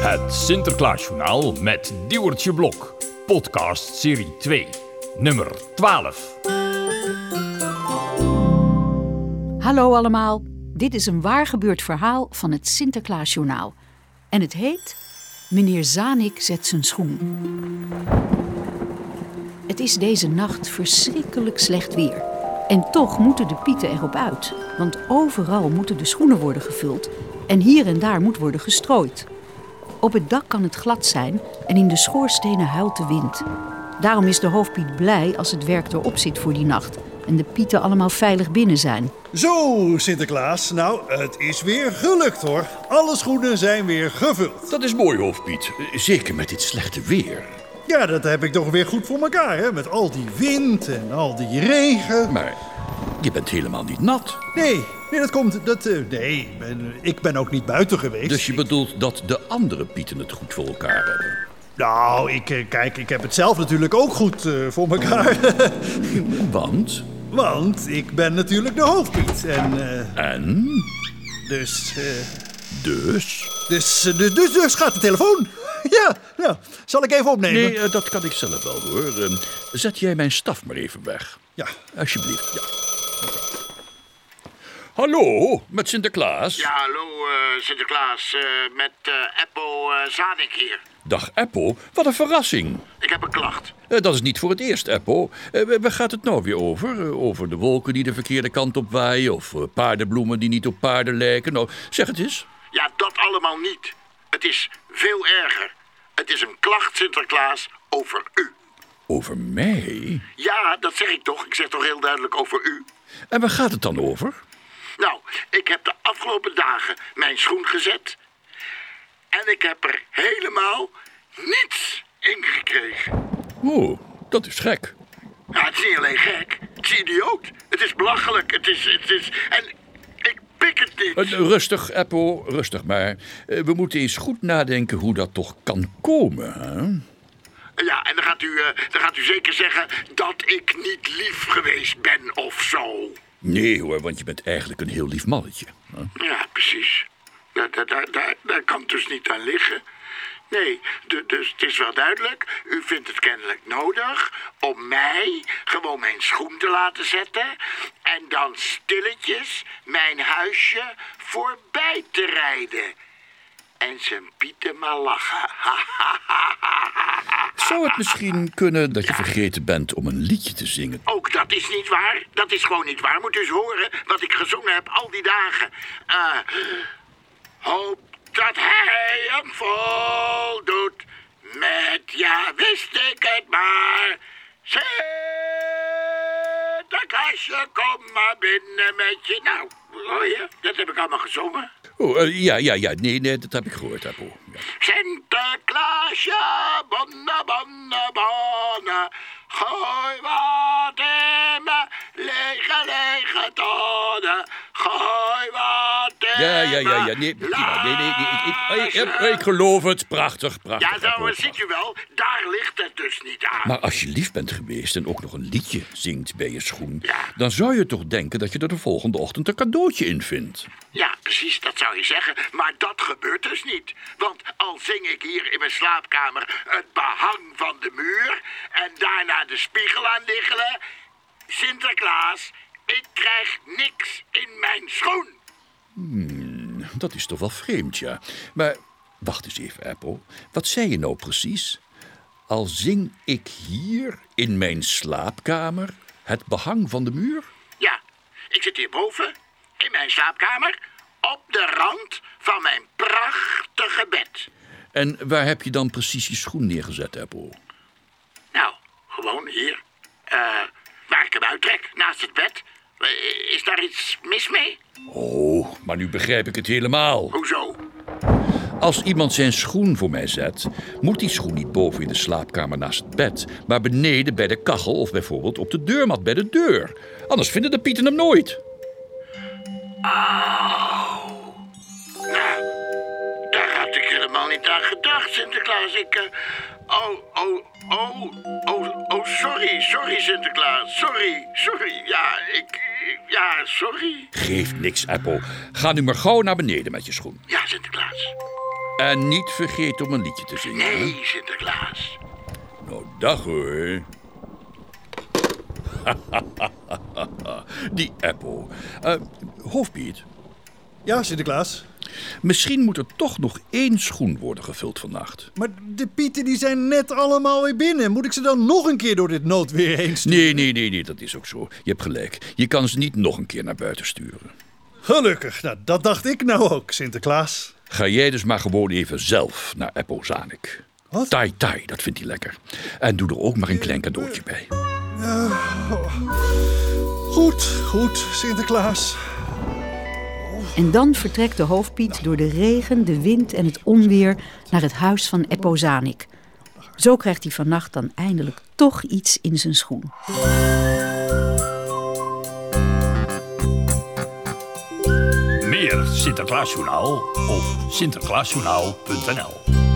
Het Sinterklaasjournaal met Diewertje Blok. Podcast serie 2, nummer 12. Hallo allemaal, dit is een waargebeurd verhaal van het Sinterklaasjournaal. En het heet Meneer Zanik zet zijn schoen. Het is deze nacht verschrikkelijk slecht weer. En toch moeten de pieten erop uit. Want overal moeten de schoenen worden gevuld. En hier en daar moet worden gestrooid. Op het dak kan het glad zijn en in de schoorstenen huilt de wind. Daarom is de hoofdpiet blij als het werk erop zit voor die nacht. En de pieten allemaal veilig binnen zijn. Zo, Sinterklaas. Nou, het is weer gelukt hoor. Alle schoenen zijn weer gevuld. Dat is mooi, hoofdpiet. Zeker met dit slechte weer. Ja, dat heb ik toch weer goed voor elkaar, hè? Met al die wind en al die regen. Maar je bent helemaal niet nat. Nee, nee, dat komt. Dat, eh, nee, ik ben, ik ben ook niet buiten geweest. Dus je bedoelt dat de andere pieten het goed voor elkaar hebben. Nou, ik, eh, kijk, ik heb het zelf natuurlijk ook goed eh, voor elkaar. Want, Want ik ben natuurlijk de hoofdpiet. En eh, en, dus, eh, dus... dus, eh, dus, dus, dus gaat de telefoon. Ja, nou, zal ik even opnemen? Nee, eh, dat kan ik zelf wel hoor. Eh, Zet jij mijn staf maar even weg. Ja. Alsjeblieft, ja. Hallo, met Sinterklaas. Ja, hallo eh, Sinterklaas, eh, met eh Eppo eh, Zanik hier. Dag, Apple. Wat een verrassing. Ik heb een klacht. Eh, Dat is niet voor het eerst, Eppo. Eh, wa- Waar gaat het nou weer over? Eh, Over de wolken die de verkeerde kant op waaien... of eh, paardenbloemen die niet op paarden lijken? Nou, zeg het eens. Ja, dat allemaal niet. Het is veel erger. Het is een klacht, Sinterklaas, over u. Over mij? Ja, dat zeg ik toch. Ik zeg toch heel duidelijk over u. En waar gaat het dan over? Nou, ik heb de afgelopen dagen mijn schoen gezet. En ik heb er helemaal niets in gekregen. Oh, dat is gek. Ja, het is niet alleen gek. Het is idioot. Het is belachelijk. Het is... Het is en ik pik het niet. Eh, Rustig, Eppo, rustig maar. Eh, We moeten eens goed nadenken hoe dat toch kan komen, hè? Ja, en dan gaat, u, eh, dan gaat u zeker zeggen dat ik niet lief geweest ben of zo. Nee hoor, want je bent eigenlijk een heel lief mannetje. hè? Ja, precies. Daar, daar, daar, daar, daar kan het dus niet aan liggen. Nee, du- dus het is wel duidelijk. U vindt het kennelijk nodig om mij gewoon mijn schoen te laten zetten. En dan stilletjes mijn huisje voorbij te rijden. En zijn pieten maar lachen. Zou het misschien kunnen dat je vergeten bent om een liedje te zingen? Ook dat is niet waar. Dat is gewoon niet waar. Moet u eens horen wat ik gezongen heb al die dagen. Eh, hoop dat hij hem voldoet. Met ja, wist ik het maar. Sinterklaasje, kom maar binnen met je. Nou, hoor je? Dat heb ik allemaal gezongen. Oh, eh, ja, ja, ja, nee, nee, dat heb ik gehoord, Eppo. Ja. Sinterklaasje, bonne, bonne, bonne. Gooi wat in me, lege, lege tonnen. Gooi wat in Ja, ja, ja, ja. me, Nee, prima. Nee, nee, nee. Ik, ik, ik, lazen. ik geloof het. Prachtig, prachtig. Ja, nou, Apple, ziet prachtig. u wel, daar ligt het dus niet aan. Maar als je lief bent geweest en ook nog een liedje zingt bij je schoen... Ja. dan zou je toch denken dat je er de volgende ochtend een cadeautje in vindt. Ja, precies, dat zou je zeggen. Maar dat gebeurt dus niet. Want al zing ik hier in mijn slaapkamer het behang van de muur en daarna de spiegel aan diggelen. Sinterklaas, ik krijg niks in mijn schoen. Dat is toch wel vreemd, ja. Maar wacht eens even, Apple. Wat zei je nou precies? Al zing ik hier in mijn slaapkamer het behang van de muur? Ja, ik zit hierboven in mijn slaapkamer op de rand van mijn prachtige bed. En waar heb je dan precies je schoen neergezet, Apple? Nou, gewoon hier. Eh, waar ik hem uittrek, naast het bed. Eh, Is daar iets mis mee? Oh, maar nu begrijp ik het helemaal. Hoezo? Als iemand zijn schoen voor mij zet, moet die schoen niet boven in de slaapkamer naast het bed, maar beneden bij de kachel of bijvoorbeeld op de deurmat bij de deur. Anders vinden de pieten hem nooit. Nou, daar had ik helemaal niet aan gedacht, Sinterklaas. Ik. eh, oh, oh, oh, oh, oh, sorry, sorry, Sinterklaas. Sorry, sorry. Ja, ik. ik- Ja, sorry. Geeft niks, Apple. Ga nu maar gauw naar beneden met je schoen. Ja, Sinterklaas. En niet vergeten om een liedje te zingen. hè? Nee, Sinterklaas. Nou, dag hoor. Die Apple. Eh Hoofdpiet, Ja, Sinterklaas. misschien moet er toch nog één schoen worden gevuld vannacht. Maar de pieten die zijn net allemaal weer binnen. Moet ik ze dan nog een keer door dit noodweer heen sturen? Nee, nee, nee, nee, dat is ook zo. Je hebt gelijk. Je kan ze niet nog een keer naar buiten sturen. Gelukkig. Nou, dat dacht ik nou ook, Sinterklaas. Ga jij dus maar gewoon even zelf naar Apple Zanik. Wat? Tai tai, dat vindt hij lekker. En doe er ook maar een klein cadeautje bij. Goed, goed, Sinterklaas. En dan vertrekt de hoofdpiet door de regen, de wind en het onweer naar het huis van Eppo Zanik. Zo krijgt hij vannacht dan eindelijk toch iets in zijn schoen. Meer Sinterklaasjournaal op sinterklaasjournaal.nl